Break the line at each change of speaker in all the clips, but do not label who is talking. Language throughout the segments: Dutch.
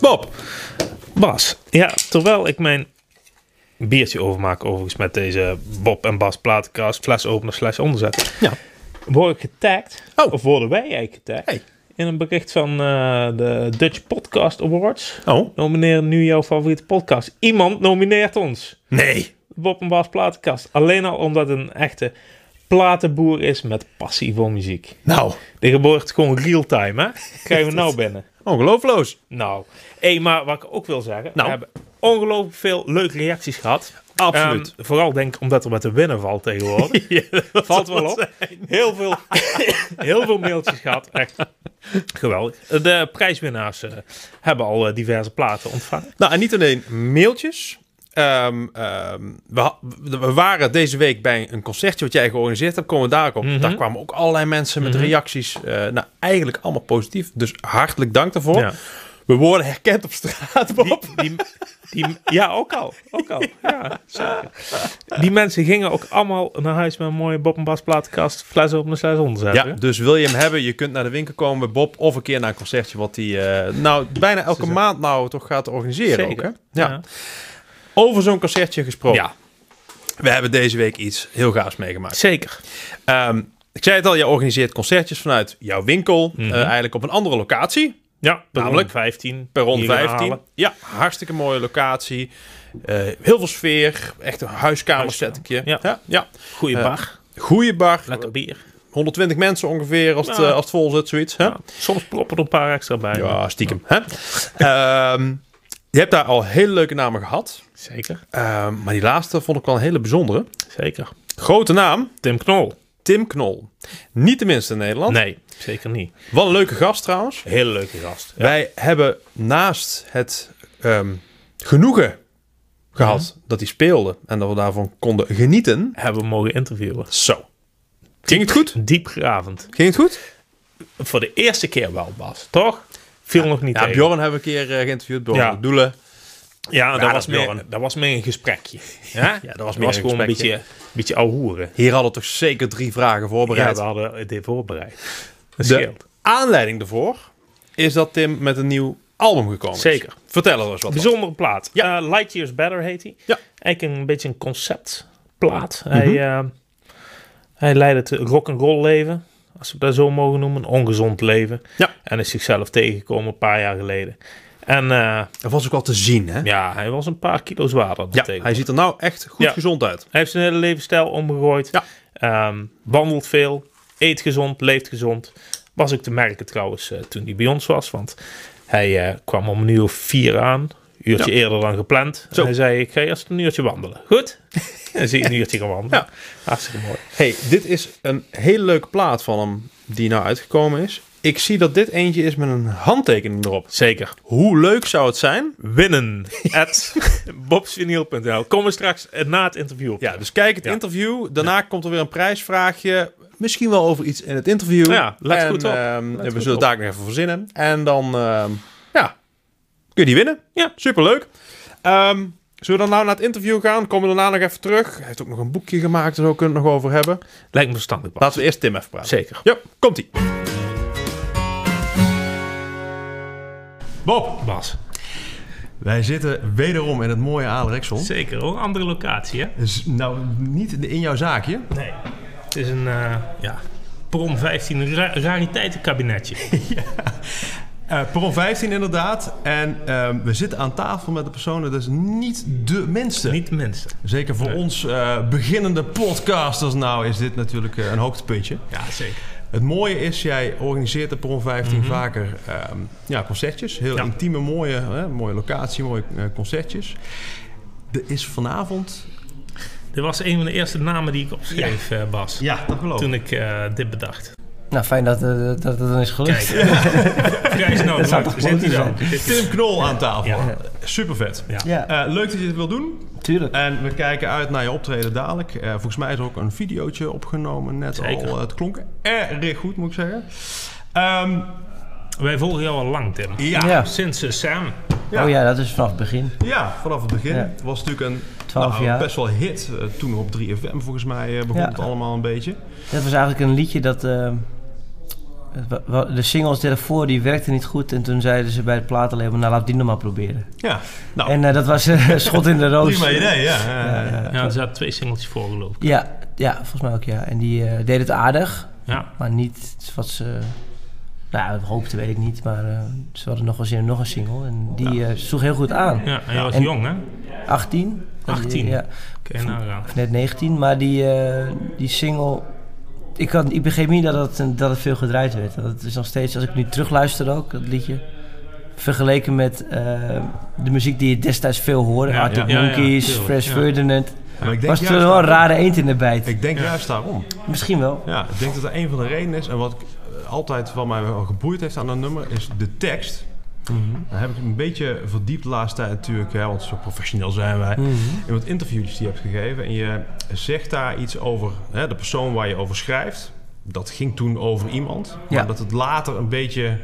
Bob, Bas. Ja, terwijl ik mijn biertje overmaak overigens met deze Bob en Bas platenkast, flesopener, slash onderzet.
Ja.
Word ik getagd,
Oh.
of worden wij eigenlijk getagd,
Hey.
in een bericht van eh, de Dutch Podcast Awards.
Oh.
Nomineer nu jouw favoriete podcast. Iemand nomineert ons.
Nee.
Bob en Bas platenkast. Alleen al omdat het een echte platenboer is met passie voor muziek.
Nou,
Dit wordt gewoon real-time, hè? Krijgen we nou binnen.
ongeloofloos.
Nou, hé, maar wat ik ook wil zeggen,
Nou.
we hebben ongelooflijk veel leuke reacties gehad.
Absoluut.
Ehm, vooral denk ik omdat er met de winnen valt tegenwoordig. valt wel op. Heel veel, heel veel mailtjes gehad. Echt geweldig. De prijswinnaars eh, hebben al eh, diverse platen ontvangen.
Nou, en niet alleen mailtjes. Ehm, ehm, we, ha- we waren deze week bij een concertje wat jij georganiseerd hebt. Komen we daar ook op. Daar kwamen ook allerlei mensen met reacties. eh, nou, eigenlijk allemaal positief. Dus hartelijk dank daarvoor.
Ja.
We worden herkend op straat, Bob.
Die, die, die, ja, ook al. Ook al. Ja, zeker. Die mensen gingen ook allemaal naar huis met een mooie Bob en Bas plaatkast. Fles op een zes
Ja,
onderzetten.
dus wil je hem hebben, je kunt naar de winkel komen bij Bob of een keer naar een concertje wat hij eh, nou bijna elke
Ze-
maand nou toch gaat organiseren. Ook,
Zeker.
hè? Ja. Over zo'n concertje gesproken.
ja,
We hebben deze week iets heel gaafs meegemaakt.
zeker.
Ehm, ik zei het al, je organiseert concertjes vanuit jouw winkel,
Mhm.
eh, eigenlijk op een andere locatie.
Ja,
Namelijk?
namelijk 15.
Perron
Hier gaan
15.
halen.
Ja, hartstikke mooie locatie. Eh, heel veel sfeer. Echt een huiskamer
Huiskamer.
set ik je.
Ja.
Ja, ja.
Goeie
Eh,
bar.
Goeie bar.
Lekker bier.
120 mensen ongeveer als het,
Ja.
eh, als het vol zit, zoiets. Hè?
Ja. Soms proppen er een paar extra bij.
Ja, stiekem. Hè? Ehm, je hebt daar al hele leuke namen gehad.
Zeker.
Ehm, maar die laatste vond ik wel een hele bijzondere.
Zeker.
Grote naam,
Tim Knol.
Tim Knol. Niet de minste in Nederland.
Nee, zeker niet.
Wat een leuke gast trouwens.
Hele leuke gast.
Wij hebben naast het ehm, genoegen gehad dat hij speelde en dat we daarvan konden genieten.
Hebben we mogen interviewen.
Zo. Ging het goed?
Diepgravend.
Ging het goed?
Voor de eerste keer wel, Bas. Toch? Viel nog niet
Ja,
tegen.
Bjorn hebben we een keer eh, geïnterviewd. Bjorn
Ja.
van Doelen.
Ja, dat,
dat
was
Bjorn.
meer, dat was meer een gesprekje. Ja,
dat was meer een
gewoon een
gesprekje.
beetje, beetje ouwehoeren.
Hier hadden we toch zeker drie vragen
Ja,
voorbereid.
we hadden dit voorbereid. Dat
de
scheelt.
aanleiding daarvoor is dat Tim met een nieuw album gekomen is.
Zeker.
Vertel er eens wat over.
Bijzondere plaat.
Ja.
Eh, Light Years Better heet hij.
Ja. Mhm.
Eigenlijk een beetje een conceptplaat. Hij, eh, hij leidt het rock'n'roll leven, als we dat zo mogen noemen. Een ongezond leven.
Ja.
En is zichzelf tegengekomen een paar jaar geleden. En eh,
Dat was ook al te zien, hè?
ja, hij was een paar kilo zwaarder. dan
Ja,
tegenwoordig.
hij ziet er nou echt goed
Ja.
gezond uit.
Hij heeft zijn hele levensstijl omgegooid.
Ja.
Ehm, wandelt veel, eet gezond, leeft gezond. Was ook te merken trouwens eh, toen hij bij ons was. Want hij eh, kwam om een uur of vier aan. Een uurtje eerder dan gepland.
Zo.
En hij zei, ik ga eerst een uurtje wandelen. Goed? en dan zie je een uurtje gaan wandelen.
Ja.
Hartstikke mooi.
hey, dit is een hele leuke plaat van hem die nou uitgekomen is. Ik zie dat dit eentje is met een handtekening erop.
Zeker.
Hoe leuk zou het zijn?
Winnen. At bobsvinyl.nl. Kom er straks eh, na het interview op.
Ja, dus kijk het
Ja.
interview. Daarna komt er weer een prijsvraagje. Misschien wel over iets in het interview.
Ja, let
en,
goed op.
ehm,
Let
we
goed
zullen
op.
het daar ook nog even verzinnen. En dan ehm, ja, kun je die winnen.
Ja.
Superleuk. Ehm, zullen we dan nou naar het interview gaan? Komen we daarna nog even terug. Hij heeft ook nog een boekje gemaakt. Daar kunnen we het nog over hebben.
Lijkt me verstandig. Bas.
Laten we eerst Tim even praten.
Zeker.
Ja, komt-ie.
Bob. Bas.
Wij zitten wederom in het mooie Alerexel.
Zeker hoor. Andere locatie hè?
Dus, nou, niet in jouw zaakje.
Nee. Het is een eh, ja, prom 15 ra- rariteitenkabinetje.
Eh perron 15 inderdaad. En ehm, we zitten aan tafel met de personen, dat is niet de minste.
Niet de minste.
Zeker voor ons eh, beginnende podcasters nou is dit natuurlijk eh, een hoogtepuntje.
Ja, zeker.
Het mooie is, jij organiseert de Perron 15 vaker ehm, ja, concertjes. Heel
Mhm. Ja.
intieme, mooie, hè, mooie locatie, mooie eh, concertjes. Er is vanavond...
Dit was een van de eerste namen die ik opschreef, eh, Bas.
Ja, dat geloof
Toen ik eh, dit bedacht.
Nou, fijn dat eh, dat, dat het dan is gelukt.
Kijk, vrij snel.
zou
Zit
toch moeten
hij dan?
zijn?
Dit is-
Tim Knol aan tafel.
Ja.
Super vet. Eh,
Ja.
Ja,
leuk dat je dit wil doen.
tuurlijk.
Eh,
En we kijken uit naar je optreden dadelijk. Eh, volgens mij is er ook een videootje opgenomen net
Zeker.
al. Eh, Het klonk erg goed, moet ik zeggen. Ehm,
Wij volgen jou al lang, Tim.
ja.
Ja.
Sinds eh, Sam.
Ja.
Oh ja, dat is vanaf het begin.
Ja, vanaf het begin.
Ja.
Het was natuurlijk een
12
nou,
jaar.
best wel hit. Eh, toen op 3FM volgens mij eh, begon
Ja.
het allemaal een beetje.
Dat was eigenlijk een liedje dat eh, wa- wa- De singles daarvoor die werkten niet goed. En toen zeiden ze bij het platenlabel, nou laat die nog maar proberen.
Ja, nou,
En eh, dat was eh, schot in de roos.
prima idee, ja.
Ja,
Eh,
ja.
Ja, er zaten twee singeltjes voor, geloof ik.
Ja, ja, volgens mij ook ja. En die eh, deed het aardig,
Ja.
maar niet wat ze... Nou, hoopte weet ik niet, maar eh, ze hadden nog wel zin in nog een single. En die eh sloeg heel goed aan.
Ja, en jij was
En-
jong, hè?
18?
18.
Ja,
Kun je nagaan.
of net 19. Maar die, eh, die single... Ik, had, ik begreep niet dat het, een- dat het veel gedraaid werd. Dat is nog steeds, als ik nu terugluister ook, dat liedje... Vergeleken met eh, de muziek die je destijds veel hoorde.
Ja, ja,
Arctic
ja, ja,
Monkeys,
tuurlijk,
Fresh
ja.
Ferdinand.
Maar ik denk
Was
juist
toen wel een
daarom.
rare eend in de bijt.
Ik denk juist daarom.
Misschien wel.
Ja, ik denk dat dat een van de redenen is. En wat ik eh, altijd van mij wel geboeid heeft aan dat nummer is de tekst.
Mhm.
Daar heb ik een beetje verdiept de laatste tijd natuurlijk, hè, want zo professioneel zijn wij.
Mhm.
In wat interviews die je hebt gegeven. En je zegt daar iets over hè, de persoon waar je over schrijft. Dat ging toen over iemand. Maar
Ja.
dat het later een beetje...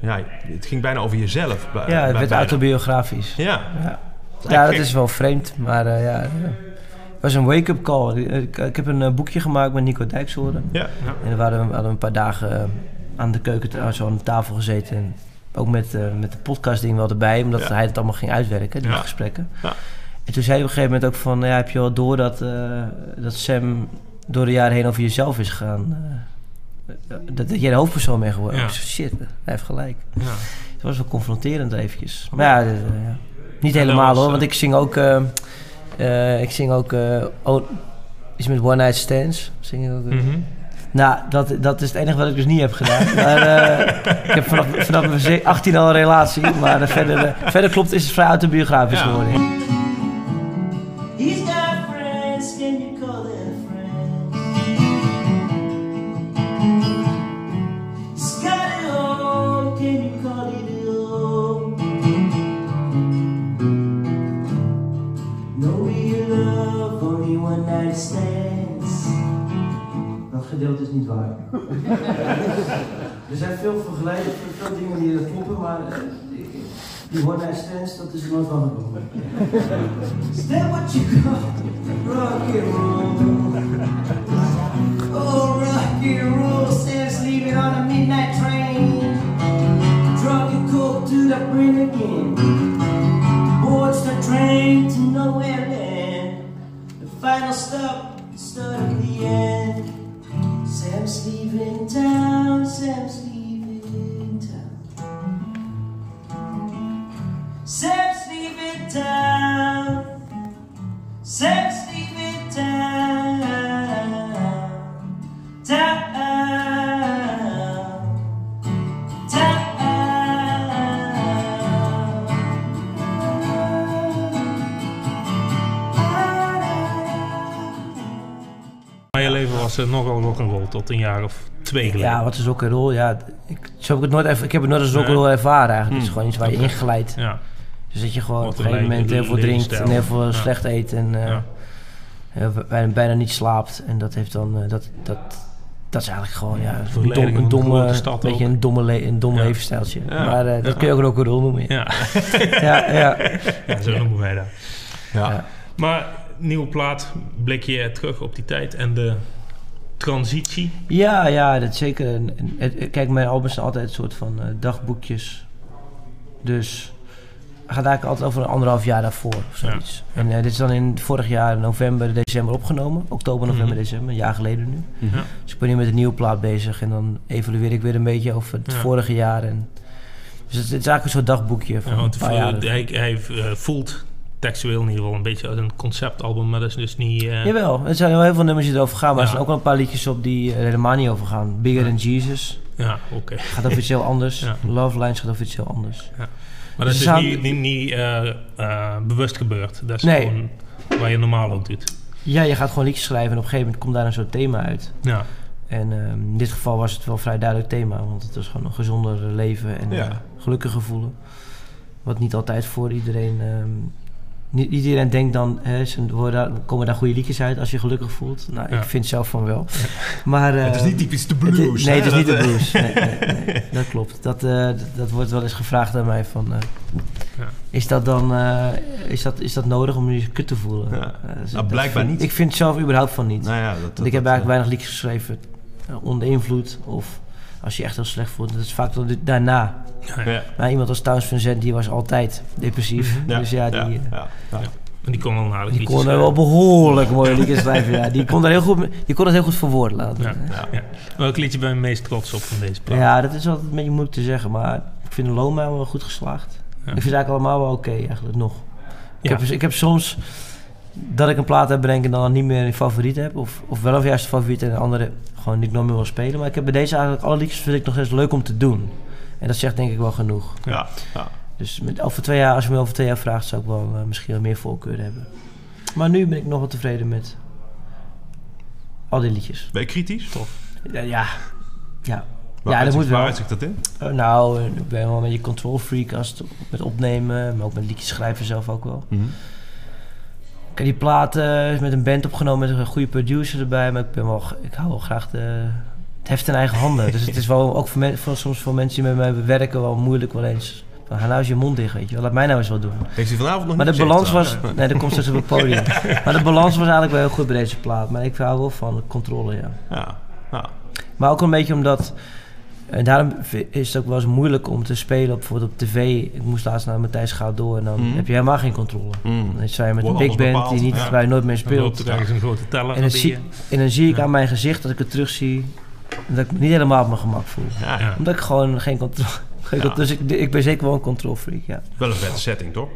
Ja, het ging bijna over jezelf. bij-
Ja, het
bij-
werd
bijna.
autobiografisch.
Ja,
Ja, dat
gek.
is wel vreemd, maar eh, ja, ja. Het was een wake-up call. Ik, ik heb een eh, boekje gemaakt met Nico Dijkshoorn.
ja.
En we hadden, we hadden een paar dagen eh, aan de keuken, eh, zo aan de tafel gezeten. En ook met, eh, met de podcastding wel erbij, omdat
Ja.
hij het allemaal ging uitwerken, die
Ja.
gesprekken.
Ja.
En toen zei hij op een gegeven moment ook van, "Nou ja, heb je wel door dat, eh, dat Sam door de jaren heen over jezelf is gegaan? eh, dat, dat jij de hoofdpersoon bent geworden.
Ja.
Ik zei, shit, hij heeft gelijk.
Ja.
Het was wel confronterend eventjes. Maar ja, dit, eh, ja. niet helemaal
was,
hoor,
eh,
want ik zing ook... eh, eh, ik zing ook... eh, oh, iets met One Night Stands. Zing ik ook, eh.
Mhm.
Nou, dat, dat is het enige wat ik dus niet heb gedaan. maar, eh, ik heb vanaf, vanaf mijn ze- 18 al een relatie. Maar eh, verder, eh, verder klopt, is het vrij autobiografisch
Ja.
geworden.
He's got friends, can you call them friends? He's got a home, can you call it a home? No real love, only one night stands.
Dat gedeelte is niet waar. er zijn veel vergelijkingen, veel dingen die er kloppen, maar eh, die One Night Stands, dat is er nooit van gekomen.
Is that what you call rock and roll? Oh, rock and roll says leaving on a midnight train. Drunk and cold to the brim again. Boards the train to nowhere land. The final stop, the start of the end. Sam's leaving town, Sam's leaving town. Sex leave it down. Sex leave it down. Down. Down.
Maar je leven was eh, nogal rock'n'roll tot een jaar of twee geleden.
Ja, wat is rock and roll? Ja, ik, zo heb ik het nooit even, ik heb het nooit als rock and roll ervaren eigenlijk. Het is gewoon iets waar je ingeleid.
Mm. Ja.
Dus dat je gewoon
Wat
op een gegeven
een
moment
le-
heel veel
le-
drinkt en
levensstijl.
heel veel
Ja.
slecht eet en eh,
Ja.
heel veel- bijna, bijna niet slaapt. En dat heeft dan eh, dat, dat, dat is eigenlijk gewoon ja, een,
Verleiding van een
dom, een
grote
domme,
stad
beetje
ook.
een domme, le- een dom
Ja.
levensstijltje. Maar eh, dat kun je ook rock and roll noemen. Ja,
Ja.
ja, ja.
Ja, zo noemen wij dat.
Ja.
Maar nieuwe plaat, blik je terug op die tijd en de transitie.
ja, ja, dat zeker. En- en het- eh, kijk, mijn albums zijn altijd een soort van eh, dagboekjes. Dus het gaat eigenlijk altijd over een anderhalf jaar daarvoor of zoiets. En eh, dit is dan in vorig jaar november, december opgenomen. Oktober, november,
Mhm.
december, een jaar geleden nu.
Ja.
Dus ik ben nu met een nieuwe plaat bezig en dan evalueer ik weer een beetje over het
Ja.
vorige jaar. En, dus het, het is eigenlijk een soort dagboekje van
Ja,
een
want
paar jaren.
hij, hij eh, voelt textueel in ieder geval een beetje als een conceptalbum, maar dat is dus niet... eh,
Jawel, er zijn wel heel veel nummers die erover gaan, maar er
Ja.
zijn ook wel een paar liedjes op die er helemaal niet over gaan. Bigger Than Jesus
ja, oké.
gaat over iets heel anders.
Ja.
Love Lines gaat over iets heel anders.
Maar dat is dus
Zou-
niet, niet, niet eh, eh, bewust gebeurd. Dat is
Nee.
gewoon waar je normaal ook doet.
Ja, je gaat gewoon liedjes schrijven en op een gegeven moment komt daar een soort thema uit.
Ja,
En ehm, in dit geval was het wel vrij duidelijk thema, want het was gewoon een gezonder leven en
Ja.
eh, gelukkiger voelen. Wat niet altijd voor iedereen. ehm, niet iedereen denkt dan, hè, ze worden, daar- komen daar goede liedjes uit als je gelukkig voelt. Nou,
Ja.
ik vind zelf van wel. Maar,
Het is
ehm,
niet typisch de
het
blues.
is- nee, het
hè,
is niet de
dat, eh,
blues. Nee, nee, nee. Dat klopt. Dat, eh, dat, dat wordt wel eens gevraagd aan mij van... eh,
Ja.
Is dat dan eh, is dat, is dat nodig om je kut te voelen?
Ja.
Eh, dus
Nou,
dat
blijkbaar
vind-
niet.
Ik vind het zelf überhaupt van niet.
Nou ja, dat,
Want
dat-
ik heb
dat, eh,
eigenlijk weinig liedjes geschreven eh, onder invloed of Als je je echt heel slecht voelt. Dat is vaak tot de- daarna.
Ja.
Maar iemand als Towns Vincent, die was altijd depressief.
Mhm. Ja,
Dus ja, die, eh,
ja, ja.
Die kon wel eh, naar de
die kon er wel behoorlijk mooi liedjes schrijven. Ja. Die, kon er heel goed, mee- die kon het heel goed verwoorden. Laten.
Ja,
Ja.
ja. Welk liedje ben je het meest trots op van deze plaat?
ja, dat is altijd een beetje moeilijk te zeggen. Maar ik vind Loma wel goed geslaagd.
Ja.
Ik vind ze eigenlijk allemaal wel oké, eigenlijk nog. Ik,
Ja.
heb, dus- ik heb soms dat ik een plaat uitbreng en dan niet meer een favoriet heb. Of, of wel of juist een favoriet en de andere gewoon niet nooit meer wil spelen. Maar ik heb bij deze eigenlijk alle liedjes vind ik nog steeds leuk om te doen. En dat zegt denk ik wel genoeg.
ja, ja.
Dus met, over twee jaar, als je me over twee jaar vraagt, zou ik wel eh, misschien wel meer voorkeur hebben. Maar nu ben ik nog wel tevreden met al die liedjes.
Ben je kritisch?
Ja, ja. ja.
Waar
dat
uitzicht-
moet wel.
Waar uitzicht dat in?
Eh, nou, eh, ik ben wel een beetje control freak als het op- met opnemen, maar ook met liedjes schrijven zelf ook wel. Ik heb die platen is met een band opgenomen met een goede producer erbij, maar ik, ben wel, g- ik hou wel graag de, het heft in eigen handen. dus het is wel ook voor, men- voor- soms voor mensen die met mij werken wel moeilijk wel eens. Van, ga nou eens je mond dicht, weet je wel. Laat mij nou eens wat doen.
Heeft hij vanavond nog
Maar de
niet
balans
gezegd,
was... Nee, dat komt straks op het podium. Maar de balans was eigenlijk wel heel goed bij deze plaat. Maar ik hou wel van controle, ja.
trouwens. Ja, ja.
Maar ook een beetje omdat. En daarom v- is het ook wel eens moeilijk om te spelen, op, bijvoorbeeld op tv. Ik moest laatst naar Matthijs Goud door en dan
Mhm.
heb je helemaal geen controle.
Mm.
Dan zijn je met een
Wordt
big
alles
band
bepaald,
die niet,
ja.
waar je nooit mee
Dan loopt
speelt.
er ergens een grote teller.
En dan,
die,
zie,
eh,
en dan zie ik
Ja.
aan mijn gezicht dat ik het terug zie, dat ik me niet helemaal op mijn gemak voel.
Ja,
Ja.
Omdat ik gewoon geen controle heb. Dus ik, ik ben zeker wel een control freak, ja.
Wel een vette setting, toch?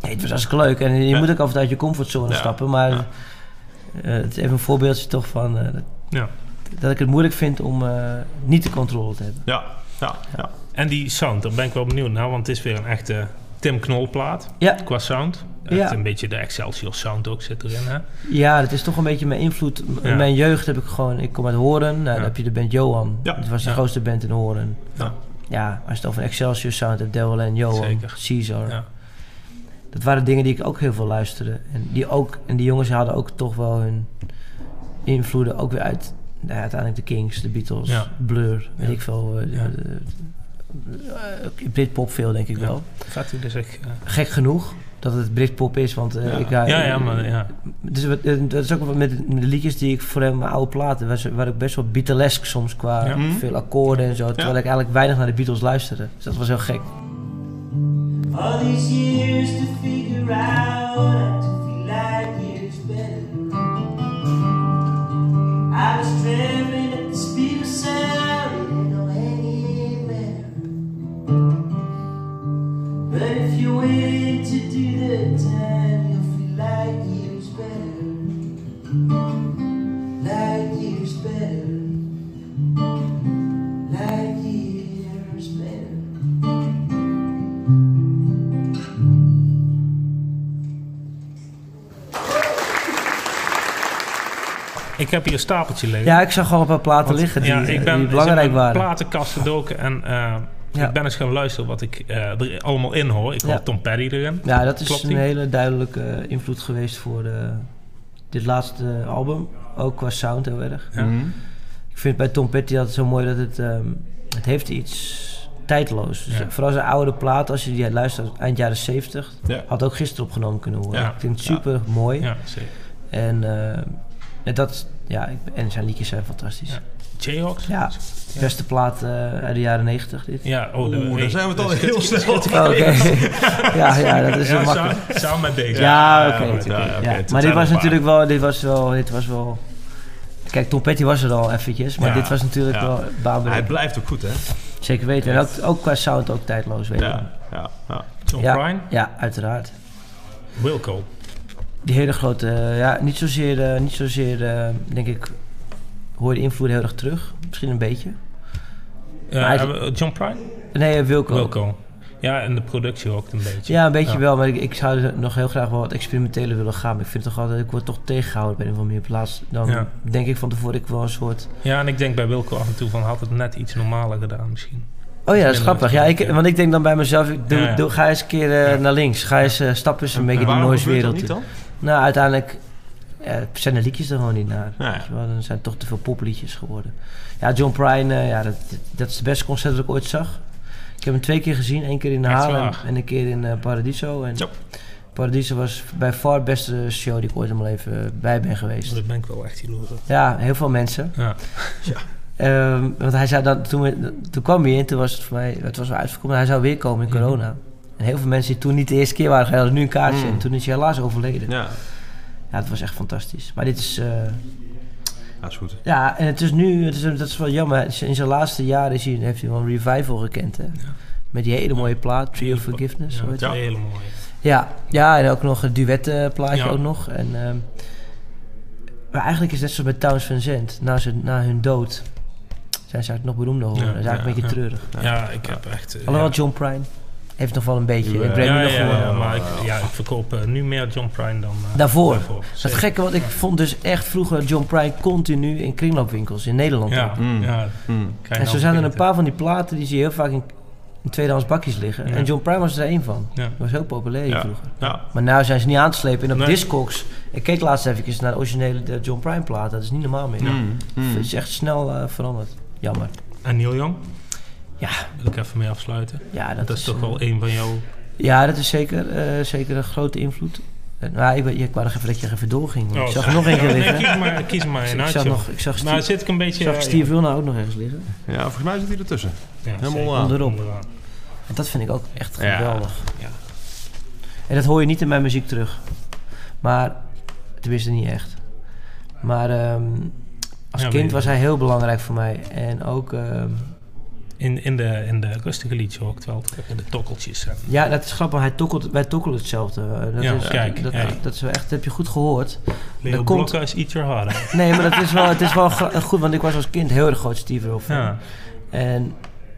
Nee, het was hartstikke leuk. En je
Ja.
moet ook altijd uit je comfortzone
Ja.
stappen. Maar
Ja.
eh, het is even een voorbeeldje toch van eh, dat,
Ja.
dat ik het moeilijk vind om eh, niet de controle te hebben.
Ja, ja, ja.
En die sound, daar ben ik wel benieuwd naar, want het is weer een echte Tim Knol plaat
Ja.
qua sound. Echt
Ja.
een beetje de Excelsior sound ook zit erin. Hè?
Ja, dat is toch een beetje mijn invloed. M-
Ja.
Mijn jeugd heb ik gewoon... Ik kom uit Horen. Nou,
Ja.
Dan heb je de band Johan.
Ja.
Dat was de
Ja.
grootste band in Horen.
Ja.
Ja, als je het over Excelsior Sound hebt, Devil en Johan,
Zeker.
Caesar.
Ja.
Dat waren dingen die ik ook heel veel luisterde. En die, ook, en die jongens hadden ook toch wel hun invloeden ook weer uit... Nou ja, uiteindelijk de Kings, de Beatles,
Ja.
Blur, weet
Ja.
ik veel. eh,
Ja.
de- eh, eh, Britpop veel, denk ik
Ja.
wel.
Gaat hij dus echt... eh,
Gek genoeg dat het Britpop is, want eh,
Ja.
ik...
ja, ja, maar ja.
Dus wat- eh, dat is ook wat met met de liedjes die ik voor hem, mijn oude platen, was, waar ik best wel Beatlesk soms qua
Ja.
Mhm.
veel akkoorden en zo. Terwijl ik eigenlijk weinig naar de Beatles luisterde. Dus dat was heel gek.
All these years to figure out and to feel like years better. I was traveling at the speed of sound, didn't go anywhere. But if you wait to do the time, you'll feel like years better. Like years better. Like years better.
Ik heb hier een stapeltje liggen.
Ja, ik zag gewoon een paar platen
Want,
liggen die,
ja,
eh,
ik ben
die
eens
belangrijk
in mijn
waren.
platenkast gedoken en eh,
Ja.
ik ben eens gaan luisteren wat ik eh, er allemaal in hoor. Ik hoor
Ja.
Tom Petty erin.
Ja, dat is
Klopt
een
die?
hele duidelijke eh, invloed geweest voor eh, dit laatste album. Ook qua sound heel erg.
Ja.
Ik vind bij Tom Petty altijd zo mooi dat het... ehm, het heeft iets tijdloos. Dus
Ja.
Vooral zijn oude plaat, als je die luistert eind jaren 70...
Ja.
had ook gisteren opgenomen kunnen worden.
Ja.
Ik vind het super mooi.
Ja, zeker.
En, eh, en dat, ja, ik- en zijn liedjes zijn fantastisch.
Ja.
Ja,
Jayhawks?
beste plaat eh, uit de jaren 90 dit.
Ja, oh, de-
Oeh,
hey,
daar zijn we het al
dus-
heel snel.
Oh, oké. ja, ja, dat is
Ja,
een makkelijk.
samen, samen met deze.
Ja, oké.
ja, ja,
natuurlijk,
ja,
ja.
oké, het zijn
Maar dit
er
was
een
natuurlijk wel, dit was wel, dit was wel... Kijk, Tom Petty was er al eventjes, maar
Ja,
dit was natuurlijk
ja.
wel
Hij
baanbrekend.
blijft ook goed, hè?
Zeker weten. En ook, ook qua sound ook tijdloos, weet je. wel.
Ja, ja, ja.
John Prine,
ja, ja, uiteraard.
Wilco.
Die hele grote, eh, ja, niet zozeer, eh, niet zozeer eh, denk ik, hoor je de invloed heel erg terug. Misschien een beetje.
Eh,
Maar hij-
hebben we- John Prine?
Nee, eh, Wilco.
Wilco. Ja, en de productie ook een beetje.
Ja, een beetje
Ja.
wel, maar ik, ik zou er nog heel graag wel wat experimenteler willen gaan. Maar ik vind toch altijd, ik word toch tegengehouden bij een of andere manier. In plaats dan
Ja.
denk ik van tevoren, ik wel een soort...
Ja, en ik denk bij Wilco af en toe van had het net iets normaler gedaan misschien.
Oh ja, dat is
minder
grappig. Ja, ik,
ja.
want ik denk dan bij mezelf, ik doe,
Ja, ja.
doe- ga eens een keer eh, naar links. Ga eens eh, stappen, eens een beetje die
waarom
noise
gebeurt dat
wereld.
niet
in.
dan?
Nou, uiteindelijk eh, zijn de liedjes er gewoon niet naar.
Nou ja.
Weet je wel, dan zijn het toch te veel popliedjes geworden. Ja, John Prine, eh, ja, dat, dat is het beste concert dat ik ooit zag. Ik heb hem twee keer gezien. één keer in
Echt
Haarlem
waar?
en een keer in eh, Paradiso. En
Zo.
Paradiso was bij far de beste show
Dus
die ik ooit in mijn leven eh, bij ben geweest.
Daar ben ik wel echt jaloers op.
Ja, heel veel mensen.
Ja.
Eh, Ehm, want hij zou dan, toen, we- toen kwam hij in, toen was het voor mij, het was wel uitverkomen. Hij zou weer komen in corona. En heel veel mensen die toen niet de eerste keer waren, hadden nu een kaartje.
Mm.
En toen is hij helaas overleden. Ja.
Ja.
het was echt fantastisch. Maar dit is, eh,
ja, is goed.
ja, en het is nu, het is, dat is wel jammer. Het is- In zijn laatste jaren is hij, heeft hij wel een revival gekend, hè. Met die hele mooie plaat, Tree of Forgiveness.
Ja,
zo
dat
heet
is
die.
een hele mooie.
Ja, ja, en ook nog een duettenplaatje
Ja.
ook nog. En, ehm, maar eigenlijk is het net zoals bij Towns Vincent. Na, ze, na hun dood zijn ze eigenlijk nog beroemder geworden.
Ja,
dat is eigenlijk
ja,
een beetje
ja.
treurig.
Ja, ik heb echt... eh,
Alhoewel John Prine heeft nog wel een beetje.
Ja,
en
ja,
Brandon
ja,
nog wel.
ja, ja, maar ik, ja, ik verkoop eh, nu meer John Prine dan... eh,
Daarvoor. Dat
Zeker.
gekke, want ik vond dus echt vroeger John Prine continu in kringloopwinkels in Nederland.
Ja,
ook.
ja. nou,
En zo zijn er een paar van die platen die zie je heel vaak in, in tweedehands bakjes liggen.
Ja.
En John Prine was er één van.
Ja.
Die was heel populair hier
Ja.
vroeger.
Ja.
Maar nou zijn ze niet aan te slepen. En op
Nee.
Discogs, ik keek laatst even naar de originele eh, John Prine plaat. Dat is niet normaal meer. Het is echt snel eh, veranderd. Jammer.
En Neil Young,
Ja,
wil ik even mee afsluiten.
ja dat,
Dat, is toch
eh,
wel een van jouw...
Ja, dat is zeker, eh, zeker een grote invloed. Eh, nou, ik, ben- ik wou nog even dat je er even doorging. want
Oh,
ik zag er
sorry.
nog één keer
Nee,
liggen.
kies maar, kies maar een
ik,
uit,
zag
joh.
nog, ik zag
Maar
Steve,
zit ik een beetje...
ik zag
ja,
Steve Wilner ook nog ergens liggen.
ja, volgens mij zit hij ertussen.
ja, ja,
helemaal
zeker.
aan.
Onderop.
Onderaan.
Want dat vind ik ook echt
Ja.
geweldig.
Ja.
En dat hoor je niet in mijn muziek terug. Maar, tenminste niet echt. Maar ehm,
Ja,
als
weet
kind
ik
was hij heel belangrijk voor mij. En ook, ehm,
In, in, de, in de rustige liedjes hoor ik het wel terug. In de tokkeltjes. En,
ja, dat is grappig. Hij tokkelt, wij tokkelen hetzelfde. Eh, Dat
Ja,
is,
kijk,
Dat,
ja.
dat is wel echt, dat heb je goed gehoord.
Leo
Dat komt-
Blokhuis, Eat Your Heart Out.
Nee, maar dat is wel, het is wel gra- goed, want ik was als kind heel erg groot Steve Earle fan.
Ja.
En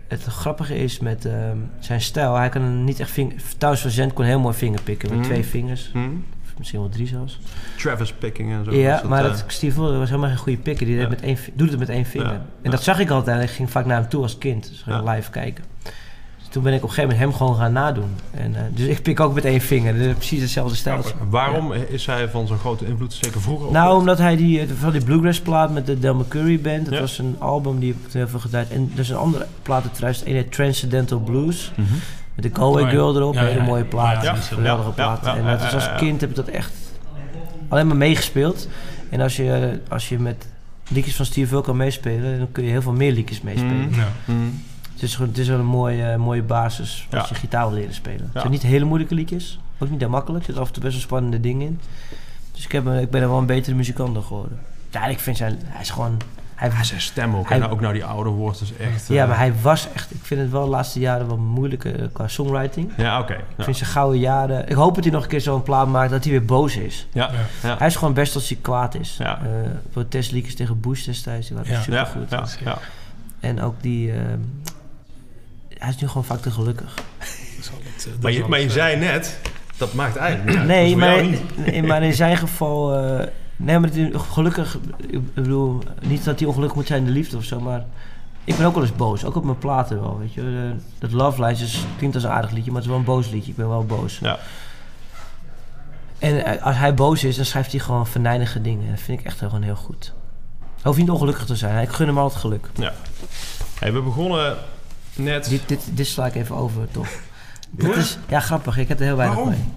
het grappige is met ehm, zijn stijl, hij kan niet echt vinger... Thuis van Zent kon heel mooi vingerpikken
Mhm.
met twee vingers. Of misschien wel drie zelfs.
Hm? Travis picking en zo.
ja,
Dus dat,
maar
eh,
dat Steve Earle was helemaal geen goede pikker. Die deed met één, vi- doet het met één vinger.
Ja,
En
ja.
dat zag ik altijd. Ik ging vaak naar hem toe als kind. Dus ging
Ja.
live kijken. Dus toen ben ik op een gegeven moment hem gewoon gaan nadoen. En, eh, dus ik pik ook met één vinger. Dus precies hetzelfde stijl.
Waarom is hij van zo'n grote invloed, zeker vroeger?
Nou, omdat hij die, eh, van die bluegrass plaat met de Del McCurry Band. Dat
Ja.
was een album die heb ik toen heel veel gedraaid. En er is een andere plaat uit 2001, heet Transcendental Blues. Met de Galway
Oh ja.
Girl erop.
Ja,
een
ja,
hele
ja.
mooie plaat.
Ja,
een
ja,
geweldige
ja,
plaat.
ja,
en dat is als
ja, ja.
kind heb ik dat echt alleen maar meegespeeld. En als je, eh, als je met liedjes van Steve Earle kan meespelen, dan kun je heel veel meer liedjes meespelen.
Nou,
Het, is gewoon, het is wel een mooie, eh, mooie basis als
Ja.
je gitaar wil leren spelen. Het
Ja.
zijn niet hele moeilijke liedjes. Ook niet heel makkelijk. Er zitten af en toe best wel spannende dingen in. Dus ik, heb, eh, ik ben er wel een betere muzikant door geworden. Ja, ik vind zijn... Hij is gewoon... Hij,
Ja, zijn stem ook.
Hij-
en nou, ook nou die oude woord is echt... eh,
ja, maar hij was echt... Ik vind het wel de laatste jaren wel moeilijker eh, qua songwriting.
Ja, oké.
Ik
Ja.
vind zijn gouden jaren... Ik hoop dat hij nog een keer zo'n plaat maakt dat hij weer boos is.
Ja, ja, ja.
Hij is gewoon best als hij kwaad is.
Ja.
Eh, protestliedjes tegen Bush destijds, die waren
Ja.
Ja,
supergoed.
ja, ja.
En ook die... eh, hij is nu gewoon vaak te gelukkig.
dat zal het, eh, dat
Maar je,
zal
maar
het,
je
eh,
zei net, dat maakt eigenlijk niet uit. Dat is
Nee,
voor
maar,
jou niet.
nee, maar in zijn geval. eh, nee, maar het- gelukkig. Ik bedoel, niet dat hij ongelukkig moet zijn in de liefde of zo, maar. Ik ben ook wel eens boos, ook op mijn platen wel, weet je. Eh, Dat Love Lines is, klinkt als een aardig liedje, maar het is wel een boos liedje. Ik ben wel boos.
Ja.
En eh, als hij boos is, dan schrijft hij gewoon verneinige dingen. Dat vind ik echt gewoon heel goed. Hij hoeft niet ongelukkig te zijn. Ik gun hem al het geluk.
Hey, we begonnen net...
Dit, dit, dit sla ik even over, toch? Dit is, ja, grappig. Ik heb er heel weinig
Waarom?
mee.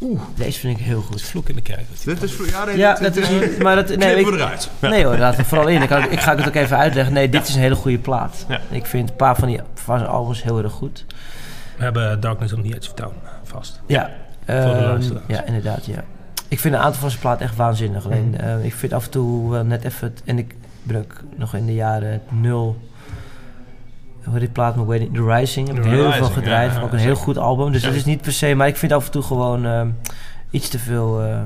Oeh. Deze vind ik heel goed.
Vloek in de kerk.
Dit is voor... Ja, nee,
Ja,
dit-
dat
dit-
is... Maar dat, nee,
knippen
ik,
we eruit. Ja.
Nee hoor, laat het vooral in. Ik, kan- ik ga het ook even uitleggen. Nee, dit is een hele goede plaat.
Ja.
Ik vind een paar van die van zijn albums heel erg goed.
We hebben Darkness on the Edge of Town eh, vast.
Ja.
de
ehm,
luisteraars.
ja, inderdaad, ja. Ik vind een aantal van zijn plaat echt waanzinnig. Alleen,
Mhm.
eh, ik vind af en toe wel net even... het- en ik ben ook nog in de jaren nul... Hoe heet die plaat nog? Wedding- The Rising. Heb ik
The
heel
Rising,
veel gedraaid.
ja, ja,
ook een heel goed album. Dus dat is niet per se... Maar ik vind af en toe gewoon ehm, iets te veel... eh,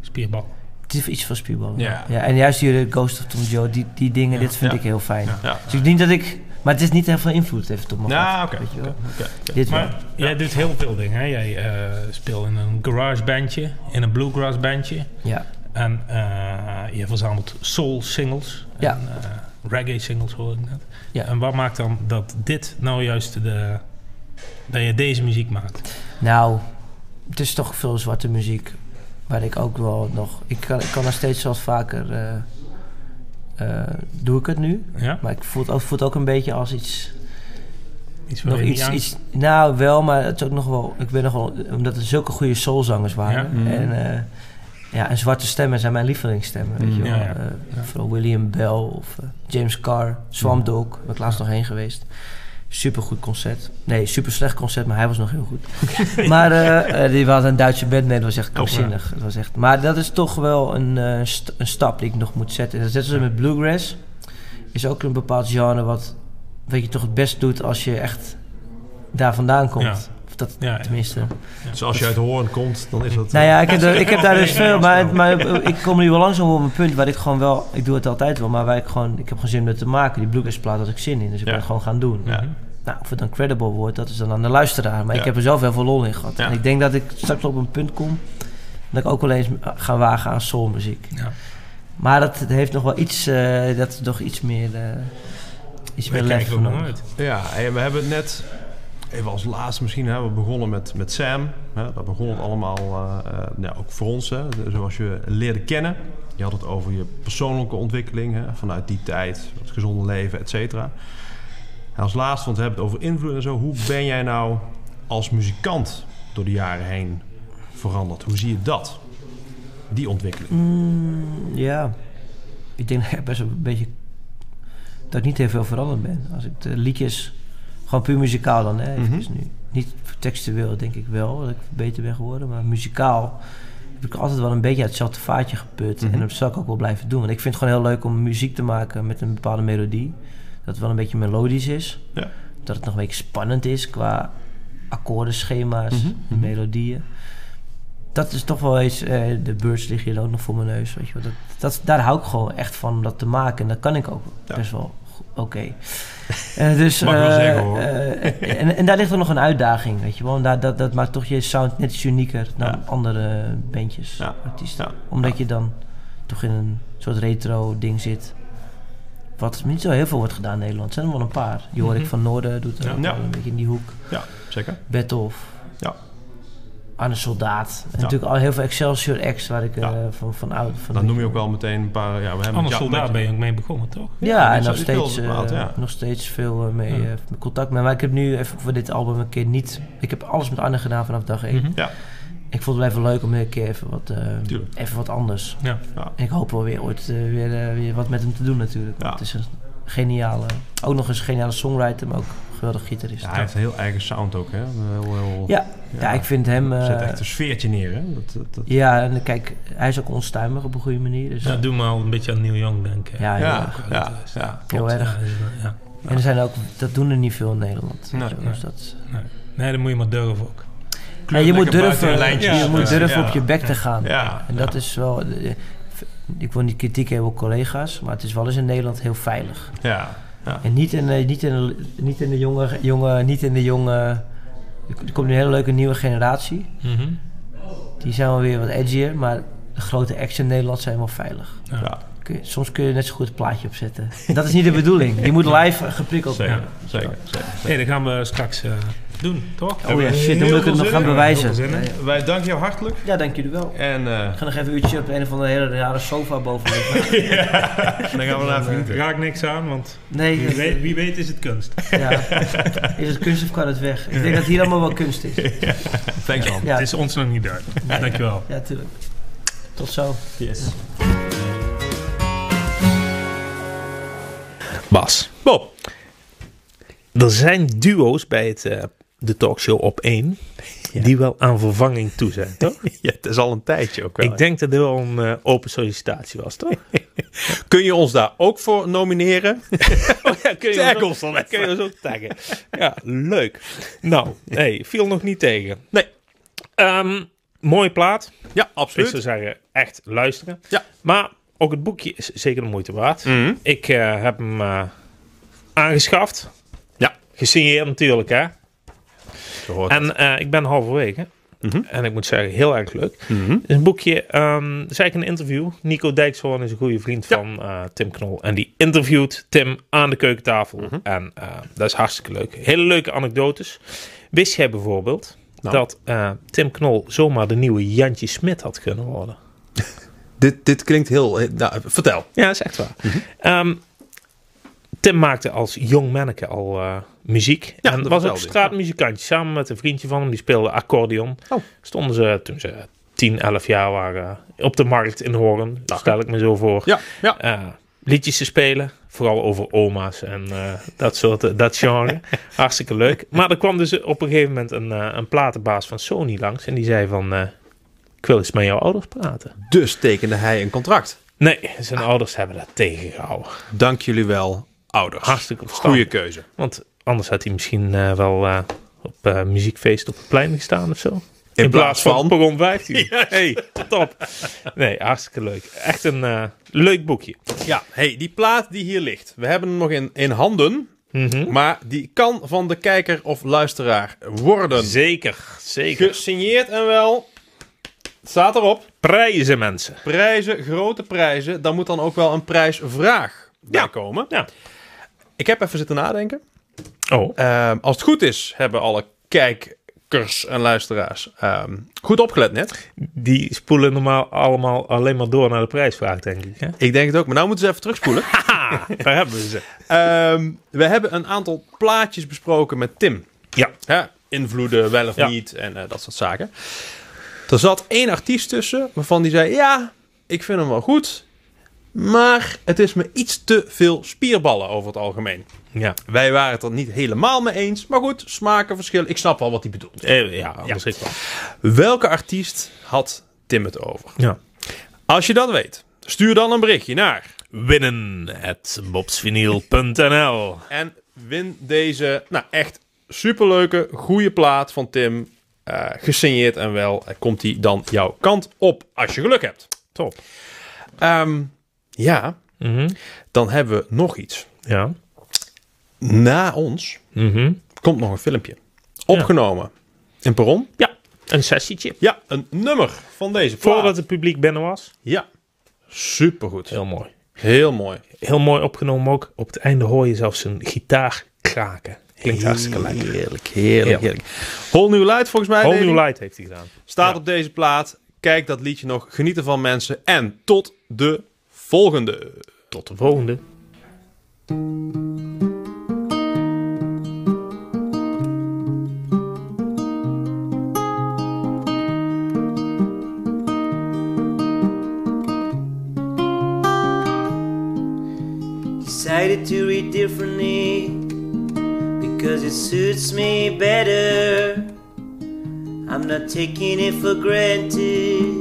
Spierbal.
Het is iets van spierballen.
Ja.
ja. En juist die Ghost of Tom Joe, die, die dingen, dit vind
Ja.
ik heel fijn.
Ja.
Dus ik denk dat ik... Maar het is niet heel veel invloed heeft op me
Ja,
gehad,
Nou, oké.
weet je wel.
oké, oké, oké.
Dit wel.
Maar jij doet heel veel dingen. Hè? Jij eh, speelt in een garage bandje, in een bluegrass bandje.
Ja.
En eh, je verzamelt soul singles.
Ja.
En, eh, reggae singles hoor ik net.
Ja.
En wat maakt dan dat dit nou juist de... Dat je deze muziek maakt.
Nou, het is toch veel zwarte muziek. Waar ik ook wel nog... Ik kan, ik kan nog steeds wat vaker... eh, eh, doe ik het nu.
Ja?
Maar ik voel het ook, voel het ook een beetje als iets...
Iets waar
Nog
je niet
iets,
aan-
iets, nou,
Mhm.
wel, maar het is ook nog wel... Ik ben nog wel... Omdat er zulke goede soulzangers waren.
Ja.
En eh, Ja, en zwarte stemmen zijn mijn lievelingsstemmen, weet je wel.
Mhm. Ja, Mhm. ja.
Eh, Vooral William Bell of eh, James Carr, Swamp Dog, daar ben ik laatst nog heen geweest. Supergoed concert. Nee, super slecht concert, maar hij was nog heel goed. maar eh, eh, die was een Duitse band, nee, dat was echt krankzinnig. Dat was echt, maar dat is toch wel een, eh, st- een stap die ik nog moet zetten. En dat zetten ze met Bluegrass. Is ook een bepaald genre wat, wat je toch het best doet als je echt daar vandaan komt.
Ja.
Of dat
Ja, ja.
tenminste.
Dus als je uit Hoorn komt, dan is dat... eh,
Nou ja, ik heb, er- ik heb daar dus veel, maar, maar ik kom nu wel langzaam op een punt waar ik gewoon wel, ik doe het altijd wel, maar waar ik gewoon, ik heb gewoon zin om het te maken. Die Bluegrass-plaat had ik zin in, dus ik ben het gewoon gaan doen. Nou, of het dan credible wordt, dat is dan aan de luisteraar, maar ik heb er zelf heel veel lol in gehad. En ik denk dat ik straks op een punt kom dat ik ook wel eens eh, ga wagen aan soulmuziek.
Ja.
Maar dat heeft nog wel iets, eh, dat is nog iets meer, eh iets meer
Daar kijk
lef
ik
voor
ook naar
nodig.
uit.
Ja, en we hebben het net, even als laatste misschien, hebben we begonnen met, met Sam. Hè, dat begon het allemaal, eh, eh, nou, ook voor ons, hè, zoals je leerde kennen. Je had het over je persoonlijke ontwikkeling hè, vanuit die tijd, het gezonde leven, et cetera. En als laatste, want we hebben het over invloed en zo. Hoe ben jij nou als muzikant door de jaren heen veranderd? Hoe zie je dat? Die ontwikkeling.
Mm.
Ja, ik denk dat ik best wel een beetje dat ik niet heel veel veranderd ben. Als ik de liedjes, gewoon puur muzikaal dan, hè, eventjes nu. Niet textueel denk ik wel, dat ik beter ben geworden, maar muzikaal heb ik altijd wel een beetje uit hetzelfde vaatje geput. En dat zal ik ook wel blijven doen. Want ik vind het gewoon heel leuk om muziek te maken met een bepaalde melodie. Dat het wel een beetje melodisch is.
Ja.
Dat het nog een beetje spannend is qua akkoordenschema's,
Mhm,
en melodieën dat is toch wel eens. eh, de birds liggen hier ook nog voor mijn neus. Weet je wel. Dat, dat, daar hou ik gewoon echt van om dat te maken. En dat kan ik ook best wel go- oké. Eh, dus,
Mag ik wel
eh,
zeggen, hoor.
eh, en, en daar ligt ook nog een uitdaging. Weet je wel. En daar, dat, dat maakt toch je sound net iets unieker dan
Ja.
andere bandjes,
Ja.
artiesten.
Ja.
Omdat je dan toch in een soort retro-ding zit. Wat niet zo heel veel wordt gedaan in Nederland. Er zijn er wel een paar. Die hoor ik van Noorden, doet dat
Mhm. Ja.
ook wel
Ja.
een beetje in die hoek.
Ja, zeker.
Bethoff.
Ja.
Arne Soldaat. En natuurlijk al heel veel Excelsior acts waar ik eh,
Ja.
van, van oud van
Dan noem je ook wel meteen een paar... Ja, we hebben
Anders
ja,
soldaat
met-
ben je ook mee begonnen, toch?
Ja,
Ja, die
en nog
zou- die
steeds,
speelde plaat,
eh,
ja.
nog steeds veel eh, mee
Ja.
eh, contact mee. Maar ik heb nu even voor dit album een keer niet... Ik heb alles met Arne gedaan vanaf dag één.
Mhm.
Ja.
Ik vond het wel even leuk om een keer even wat, eh,
Tuurlijk.
even wat anders.
Ja.
En ik hoop wel weer ooit eh, weer, eh, weer wat met hem te doen natuurlijk.
Ja.
Want Het is een geniale... Ook nog eens een geniale songwriter, maar ook een geweldig gitarist.
Ja, hij heeft een heel eigen sound ook, hè? Een Heel, heel,
ja. Ja, ik vind hem... eh,
Zet echt een sfeertje neer, hè? Dat, dat, dat-
ja, en kijk, hij is ook onstuimig op een goede manier. Dus,
Dat doet me al een beetje aan Neil Young denken.
ja, heel erg.
ja, ja.
Heel erg.
Ja, ja.
En er zijn ook, dat doen er niet veel in Nederland.
Nee,
Weet je wel, dus dat,
Nee. nee, dan moet je maar durven ook.
Ja, je moet
lekker buiten
durven,
de lijntjes.
je moet
Ja.
durven
Ja.
op je bek te gaan.
Ja.
En dat is wel. eh, Ik wil niet kritiek hebben op collega's, maar het is wel eens in Nederland heel veilig.
Ja. Ja.
En niet in, de- niet in, de- niet in de jonge, jonge, niet in de jonge. Er komt nu een hele leuke nieuwe generatie.
Mhm.
Die zijn wel weer wat edgier, maar de grote acts in Nederland zijn wel veilig.
Ja.
Kun je- soms kun je net zo goed het plaatje opzetten. En dat is niet de bedoeling. Je moet live geprikkeld
Zeker,
worden.
zeker, zeker.
Nee, dat gaan we straks eh, doen, toch?
Oh ja, shit, dan moet ik het nog gaan
Heel veel
bewijzen.
zin in.
Wij danken jou hartelijk.
Ja, dank jullie wel.
En eh,
Ik ga nog even een uurtje op een of andere hele rare sofa boven. liggen.
dan gaan we naar vrienden.
Raak niks aan, want
Nee,
wie
dat-
weet, wie weet is het kunst.
ja. Is het kunst of kan het weg? Ik denk dat hier allemaal wel kunst is.
Thanks, man.
Ja,
Het is ons nog niet duidelijk. Dankjewel.
ja tuurlijk. Tot zo.
Bas. Bob. Er zijn duo's bij het, eh, de talkshow op één die wel aan vervanging toe zijn, toch?
Ja, het is al een tijdje ook wel.
Ik denk dat dit wel een eh, open sollicitatie was, toch?
Kun je ons daar ook voor nomineren?
ja, kun
Tag
ook-
ons dan even.
kun je ons ook taggen. Ja, leuk. Nou, hey, viel nog niet tegen.
Nee.
Ehm, mooie plaat.
Ja,
Ik
absoluut.
zou zeggen, echt luisteren.
Ja.
Maar ook het boekje is zeker de moeite waard.
Mhm.
Ik eh, heb hem eh, aangeschaft.
Ja.
Gesigneerd natuurlijk, hè.
Zo hoort het. Mhm.
En eh, ik ben halverwege. En ik moet zeggen, heel erg leuk. Het is een boekje, ehm het is eigenlijk een interview. Nico Dijkshoorn is een goede vriend van eh, Tim Knol. En die interviewt Tim aan de keukentafel. En eh, dat is hartstikke leuk. Hele leuke anekdotes. Wist jij bijvoorbeeld
Nou.
dat eh, Tim Knol zomaar de nieuwe Jantje Smit had kunnen worden?
dit, dit klinkt heel... heel- Nou, vertel.
Ja, dat is echt waar. Ehm, Tim maakte als jong manneke al eh, muziek.
Ja,
en
dat
was
vertelde
ook
je.
straatmuzikantje. Samen met een vriendje van hem, die speelde accordeon.
Oh.
Stonden ze, toen ze 10, 11 jaar waren. eh, Op de markt in Hoorn, stel ik me zo voor.
Nou. Ja, ja.
eh, liedjes te spelen. Vooral over oma's en eh, dat soort, eh, dat genre. Hartstikke leuk. Maar er kwam dus op een gegeven moment een, eh, een platenbaas van Sony langs. En die zei van, eh, ik wil eens met jouw ouders praten.
Dus tekende hij een contract.
Nee,
Ah.
zijn ouders hebben dat tegengehouden.
Dank jullie wel, ouders.
Hartstikke
Goeie
verstandig.
keuze.
Want anders had hij misschien eh, wel eh, op eh, muziekfeest op het plein gestaan of zo.
In,
Perron 15. hey, top. Nee, hartstikke leuk. Echt een eh, leuk boekje.
Ja, hey, die plaat die hier ligt. We hebben hem nog in, in handen.
Mhm.
Maar die kan van de kijker of luisteraar worden.
Zeker, zeker.
Gesigneerd en wel. Het Staat erop.
Prijzen, mensen.
Prijzen, grote prijzen. Daar moet dan ook wel een prijsvraag bij
Ja.
komen.
Ja.
Ik heb even zitten nadenken.
Oh,
Ehm, als het goed is, hebben alle kijkers en luisteraars ehm, goed opgelet net.
die spoelen normaal allemaal alleen maar door naar de prijsvraag, denk ik. Hè?
Ik denk het ook, maar nou moeten ze even terugspoelen.
Daar hebben we ze.
Ehm, we hebben een aantal plaatjes besproken met Tim.
Ja.
Hè, invloeden wel of
Ja.
niet en eh, dat soort zaken. Er zat één artiest tussen waarvan die zei: Ja, ik vind hem wel goed. Maar het is me iets te veel spierballen over het algemeen.
Ja.
Wij waren het er niet helemaal mee eens. Maar goed, smaken verschillen. Ik snap wel wat hij bedoelt.
Eh, ja, anders ik wel.
Welke artiest had Tim het over?
Ja.
Als je dat weet, stuur dan een berichtje naar.
Winnen at bobsvinyl.nl.
En win deze, nou echt superleuke, goede plaat van Tim. eh, gesigneerd en wel. Eh, Komt die dan jouw kant op als je geluk hebt.
Top.
Ehm, ja,
Mhm.
dan hebben we nog iets.
Ja.
Na ons
Mhm.
komt nog een filmpje. Opgenomen in Perron.
Ja, een sessietje.
Ja, een nummer van deze plaat.
Voordat het publiek binnen was.
Ja, supergoed.
Heel mooi.
Heel mooi.
Heel mooi opgenomen ook. Op het einde hoor je zelfs een gitaar kraken. Klinkt hartstikke lekker.
Heerlijk, heerlijk, heerlijk. eh, Whole New Light volgens mij.
Whole
Lely.
New Light heeft hij gedaan.
Staat op deze plaat. Kijk dat liedje nog. Geniet ervan mensen. En tot de volgende.
Tot de volgende.
decided to read differently because it suits me better. I'm not taking it for granted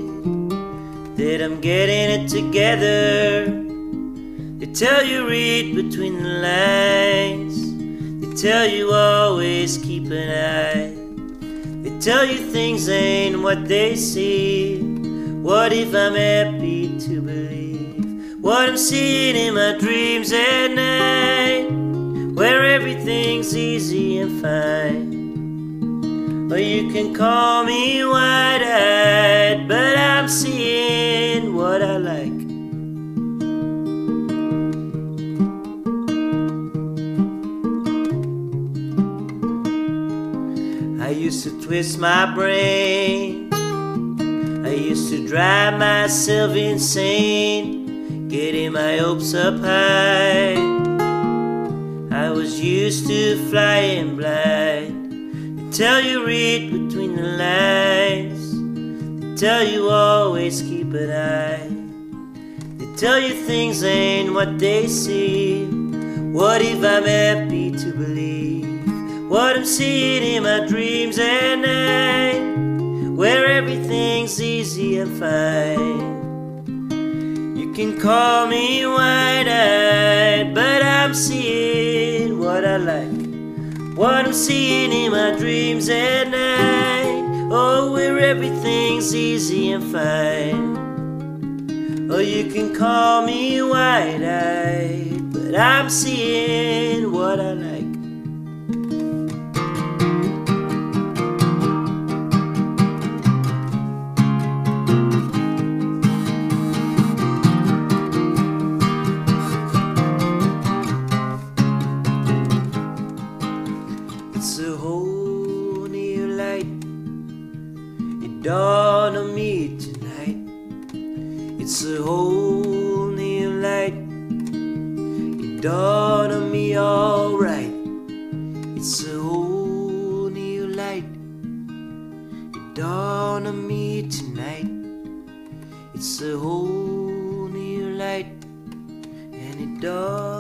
that I'm getting it together. They tell you read between the lines, they tell you always keep an eye. They tell you things ain't what they seem. What if I'm happy to believe what I'm seeing in my dreams at night? Where everything's easy and fine. Well, you can call me wide eyed, but I'm seeing what I like. I used to twist my brain. I used to drive myself insane, getting my hopes up high. I was used to flying blind. They tell you read between the lines. They tell you always keep an eye. They tell you things ain't what they seem. What if I'm happy to believe what I'm seeing in my dreams at night, where everything's easy and fine? You can call me wide eyed, but I'm seeing what I like, what I'm seeing in my dreams at night, oh, where everything's easy and fine. Or you can call me wide eyed, but I'm seeing what I like. It's a whole new light. It dawned on me tonight. It's a whole new light. It dawned on me alright. It's a whole new light. It dawned on me tonight. right, and it does.